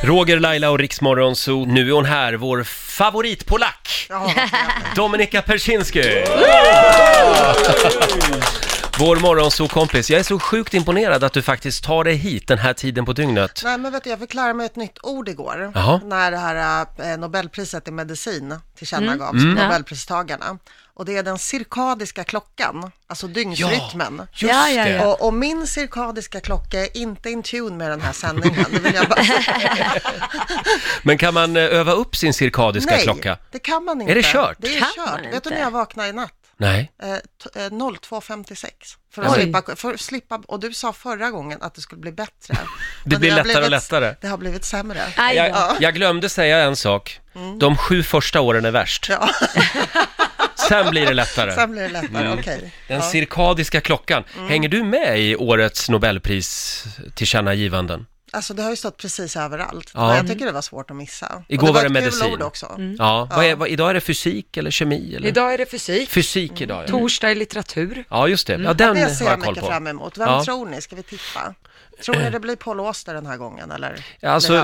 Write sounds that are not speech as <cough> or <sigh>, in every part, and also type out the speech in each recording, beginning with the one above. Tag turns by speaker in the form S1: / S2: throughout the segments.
S1: Roger, Laila och Riksmorgon Zoo. Nu är hon här, vår favoritpolack! <laughs> Dominika Persinski! Vår morgonsokompis. Jag är så sjukt imponerad att du faktiskt tar dig hit den här tiden på dygnet.
S2: Nej men vet du, jag fick lära mig ett nytt ord igår.
S1: Jaha.
S2: När det här eh, Nobelpriset i medicin tillkännagavs,
S1: Mm.
S2: Nobelpristagarna. Och det är den cirkadiska klockan, alltså dygnsrytmen.
S1: just
S3: Ja, ja,
S1: det!
S3: ja.
S2: Och, och min cirkadiska klocka är inte in tune med den här sändningen. Det vill jag bara...
S1: <laughs> Men kan man eh, öva upp sin cirkadiska
S2: Nej,
S1: klocka?
S2: det kan man inte.
S1: Är det kört?
S2: Det är
S3: Kan man
S2: kört. Vet du
S3: inte?
S2: när jag vaknade i natt?
S1: Nej.
S2: Eh, t- eh, 02.56 för att,
S3: Oj.
S2: slippa, för att slippa, och du sa förra gången att det skulle bli bättre.
S1: <laughs> Det
S2: Men
S1: blir
S2: har
S1: lättare och
S2: blivit,
S1: lättare.
S2: Det har blivit sämre.
S3: Aj, då.
S1: Jag, jag glömde säga en sak.
S3: Mm.
S1: De sju första åren är värst.
S2: Ja.
S1: Sen blir det lättare.
S2: Sen blir det lättare,
S1: Mm.
S2: okej.
S1: Den cirkadiska klockan. Hänger du med i årets Nobelpris tillkännagivanden?
S2: Alltså det har ju stått precis överallt.
S1: Ja.
S2: Men jag tycker det var svårt att missa.
S1: Igår
S2: och
S1: var
S2: det
S1: det
S2: ett kul
S1: medicin.
S2: ord också.
S3: Mm.
S1: Ja, vad är, vad, idag är det fysik eller kemi? Eller?
S4: Idag är det fysik.
S1: Fysik idag, ja.
S4: Torsdag är litteratur.
S1: Ja, just det. Ja, den
S2: Mm. Det ser
S1: Mm. har
S2: jag
S1: jag koll
S2: mycket
S1: på.
S2: fram emot. Vem
S1: Ja. Eh.
S2: tror ni? Ska vi tippa? Tror ni det blir Paul Auster den här gången eller?
S1: Alltså,
S2: Blir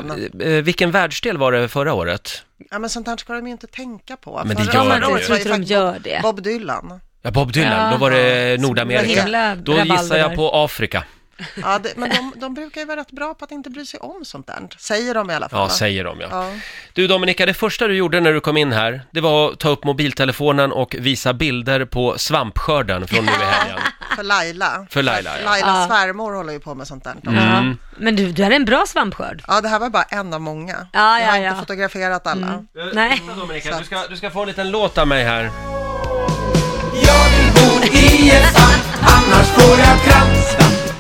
S2: han-
S1: eh, vilken världsdel var det förra året?
S2: Ja men sånt här ska de ju inte tänka på.
S1: Men det
S2: Förra
S1: gör
S2: året
S1: de
S2: var
S1: ju.
S3: Jag tror inte de
S2: faktiskt
S3: gör det.
S2: Bob Dylan.
S1: Ja, Bob Dylan, då var det Nordamerika.
S3: himla
S1: Då gissar
S3: rabalder
S1: jag
S3: där.
S1: på Afrika.
S2: Ja, det, men de, de brukar ju vara rätt bra på att inte bry sig om sånt där. Säger de i alla fall.
S1: Ja,
S2: va?
S1: säger de ja.
S2: Ja.
S1: Du Dominika, det första du gjorde när du kom in här, det var att ta upp mobiltelefonen och visa bilder på svampskörden från
S2: <laughs>
S1: nu i helgen.
S2: För Laila.
S1: För Laila, ja. Mm.
S2: Lailas
S3: Ja.
S2: svärmor håller ju på med sånt där.
S3: Ja. Men du, du hade en bra svampskörd.
S2: Ja, det här var bara en av många.
S3: Ja,
S2: jag har
S3: ja,
S2: inte
S3: ja. Mm.
S2: fotograferat alla.
S3: Nej.
S1: Eh, Dominika, du ska, du ska få en liten låt av mig här.
S5: Jag vill bo i en svamp, annars får jag kramp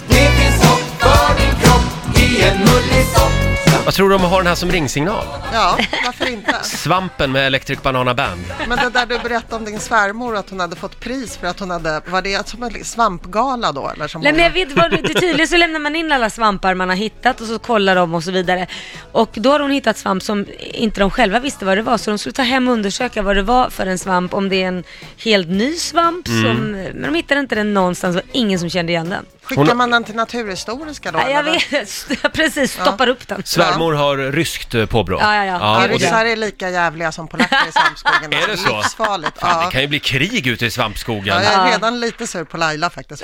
S5: Det finns hopp för din kropp i en mullig sopp
S1: Vad tror du om att ha den här som ringsignal?
S2: Ja, varför inte?
S1: Svampen med Electric Banana Band.
S2: Men det där du berättade om din svärmor, att hon hade fått pris för att hon hade, var det som en svampgala då? Eller som
S3: Nej, men jag
S2: hon,
S3: vet vad, det tydligen så lämnar man in alla svampar man har hittat och så kollar de och så vidare. Och då har hon hittat svamp som inte de själva visste vad det var så de skulle ta hem och undersöka vad det var för en svamp, om det är en helt ny svamp
S1: Mm.
S3: som, men de hittade inte den någonstans och ingen som kände igen den.
S2: skickar
S1: hon-
S2: man den till Naturhistoriska då?
S3: Ja, jag
S2: eller?
S3: vet, <laughs> jag precis, stoppar upp den.
S1: Svärmor har ryskt eh, påbrå.
S3: Ja, ja, ja.
S2: Ja,
S1: och det,
S2: ryssar är lika jävliga som polacker i svampskogen.
S1: Är det så?
S2: Livsfarligt.
S1: fan,
S2: Ja.
S1: det kan ju bli krig ute i
S2: Ja,
S1: svampskogen.
S2: jag är redan lite sur på Laila faktiskt.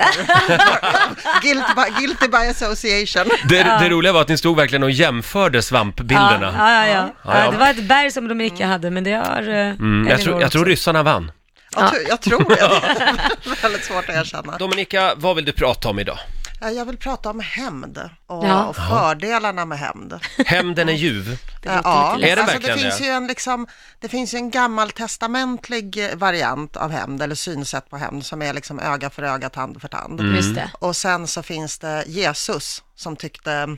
S2: <laughs> guilty, by, guilty by association.
S1: Det, det roliga var att ni stod verkligen och jämförde
S3: Ja,
S1: svampbilderna.
S3: ja, ja, ja.
S1: Ja, ja.
S3: Ja, det var ett berg som Dominika hade men det har... Mm,
S1: Mm, jag, tror, jag tror ryssarna vann.
S2: Jag, tror- jag tror det. <laughs> Väldigt svårt att erkänna.
S1: Dominika, vad vill du prata om idag?
S2: Eh, Jag vill prata om hämnd och,
S3: Ja.
S2: och fördelarna med hämnd.
S1: Hämnden är
S2: <laughs>
S1: ljuv.
S3: låter
S2: Ja,
S3: lite
S1: Är det
S2: alltså det
S1: verkligen
S2: finns
S1: det?
S2: ju en liksom, det finns ju en gammaltestamentlig eh, variant av hämnd eller synsätt på hämnd som är liksom öga för öga, tand för tand.
S1: Mm.
S3: Just det.
S2: Och sen så finns det Jesus som tyckte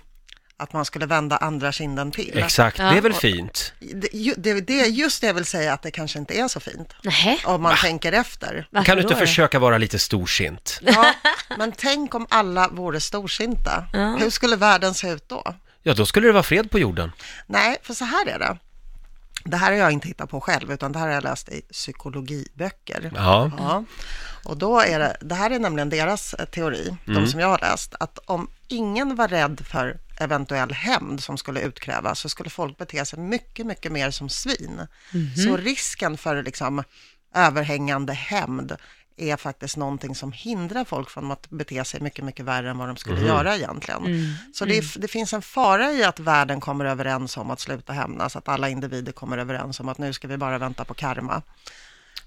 S2: att man skulle vända andra kinden till.
S1: Exakt, det är väl fint?
S2: Det, ju- det, det är just det jag vill säga att det kanske inte är så fint
S3: Nähä,
S2: om man tänker efter.
S3: varför
S1: Kan du
S3: då
S1: inte
S3: då?
S1: försöka vara lite storsint?
S2: Ja, men tänk om alla vore storsinta. Hur skulle världen se ut då?
S1: Ja, då skulle det vara fred på jorden.
S2: Nej, för så här är det. Det här har jag inte hittat på själv, utan det här har jag läst i psykologiböcker.
S1: Ja.
S2: Ja. Och då är det, det här är nämligen deras eh, teori, de som jag har läst, att om ingen var rädd för eventuell hämnd som skulle utkrävas så skulle folk bete sig mycket, mycket mer som svin. Så risken för liksom överhängande hämnd är faktiskt någonting som hindrar folk från att bete sig mycket, mycket värre än vad de skulle göra egentligen. Så det, är- det finns en fara i att världen kommer överens om att sluta hämnas, att alla individer kommer överens om att nu ska vi bara vänta på karma.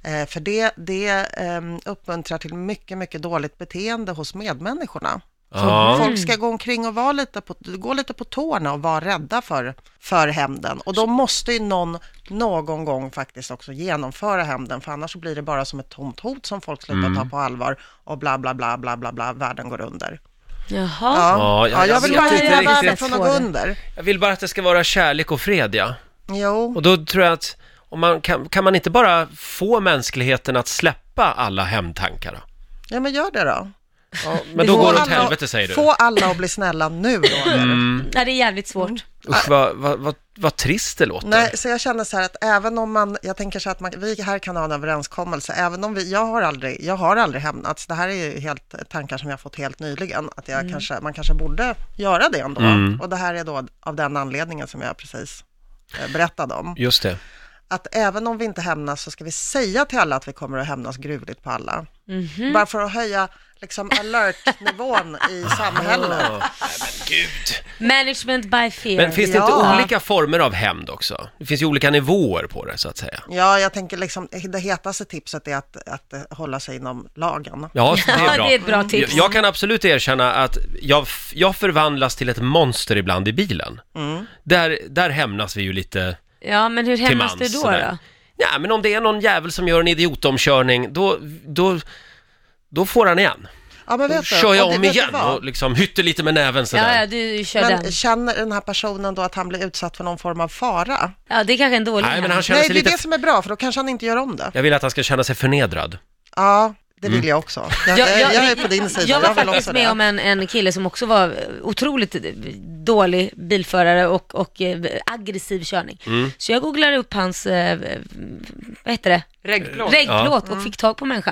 S2: Eh, för det, det um, uppmuntrar till mycket, mycket dåligt beteende hos medmänniskorna. Så
S1: Ja. Mm.
S2: Folk ska gå omkring och vara lite på, gå lite på tårna och vara rädda för, för hämnden. Och då måste ju någon någon gång faktiskt också genomföra hämnden, för annars så blir det bara som ett tomt hot som folk slutar
S1: Mm.
S2: ta på allvar och bla, bla, bla, bla, bla, bla, världen går under.
S3: Jaha.
S2: Ja,
S1: Ja, jag-
S2: ja, jag vill
S1: jag
S2: bara
S1: vet inte
S2: hindra världen
S1: riktigt.
S2: från att gå under.
S1: Jag vill bara att det ska vara kärlek och fred, ja.
S2: Jo,
S1: Och då tror jag att om man kan, kan man inte bara få mänskligheten att släppa alla hämndtankar? då?
S2: ja, men gör det då.
S1: Men då
S2: Få
S1: går det åt
S2: alla-
S1: helvete, säger du. Mm.
S2: Få alla att bli snälla nu, Roger. Mm.
S3: Nej, det är jävligt svårt.
S1: Usch, vad, vad, vad, vad trist det låter.
S2: Nej, så jag känner så här att även om man, jag tänker så här att man, vi här kan ha en överenskommelse, även om vi, jag har aldrig, jag har aldrig hämnats, det här är ju helt tankar som jag fått helt nyligen, att jag kanske, man kanske borde göra det ändå. Och det här är då av den anledningen som jag precis eh, berättade om.
S1: Just det.
S2: Att även om vi inte hämnas så ska vi säga till alla att vi kommer att hämnas gruvligt på alla. Bara för att höja liksom alert-nivån i samhället.
S3: Management by fear.
S1: Men finns det
S2: Ja.
S1: inte olika former av hämnd också? Det finns ju olika nivåer på det, så att säga.
S2: Ja, jag tänker liksom, det hetaste tipset är att, att eh, hålla sig inom lagen.
S1: Ja, det är bra.
S3: det är ett bra tips.
S1: Jag, jag kan absolut erkänna att jag, f- jag förvandlas till ett monster ibland i bilen. Där, där hämnas vi ju lite
S3: Ja, men hur
S1: till
S3: hämnas
S1: mans.
S3: du då?
S1: sådär.
S3: då?
S1: Nej, men om det är någon jävel som gör en idiotomkörning, då, då, då får han igen.
S2: Ja, men
S1: Då
S2: vet du,
S1: kör jag
S2: och det-
S1: om
S2: vet du
S1: igen
S2: vad?
S1: och liksom hytter lite med näven sådär.
S3: Ja, ja, du kör den.
S2: Men känner den här personen då att han blir utsatt för någon form av fara?
S3: Ja, det är kanske en dålig
S1: Nej, men han
S3: hämnd.
S1: känner
S2: Nej,
S1: sig
S2: det är
S1: lite...
S2: det som är bra, för då kanske han inte gör om det.
S1: Jag vill att han ska känna sig förnedrad.
S2: Ja, det
S1: Mm.
S2: vill jag också. Jag, jag, jag, är på din sida.
S3: Jag var
S2: vill
S3: faktiskt
S2: också
S3: med
S2: det.
S3: om en, en kille som också var eh, otroligt eh, dålig bilförare och, och eh, aggressiv körning.
S1: Mm.
S3: Så jag googlade upp hans, eh, vad heter det,
S4: Reggplåt.
S3: regplåt och fick tag på människan.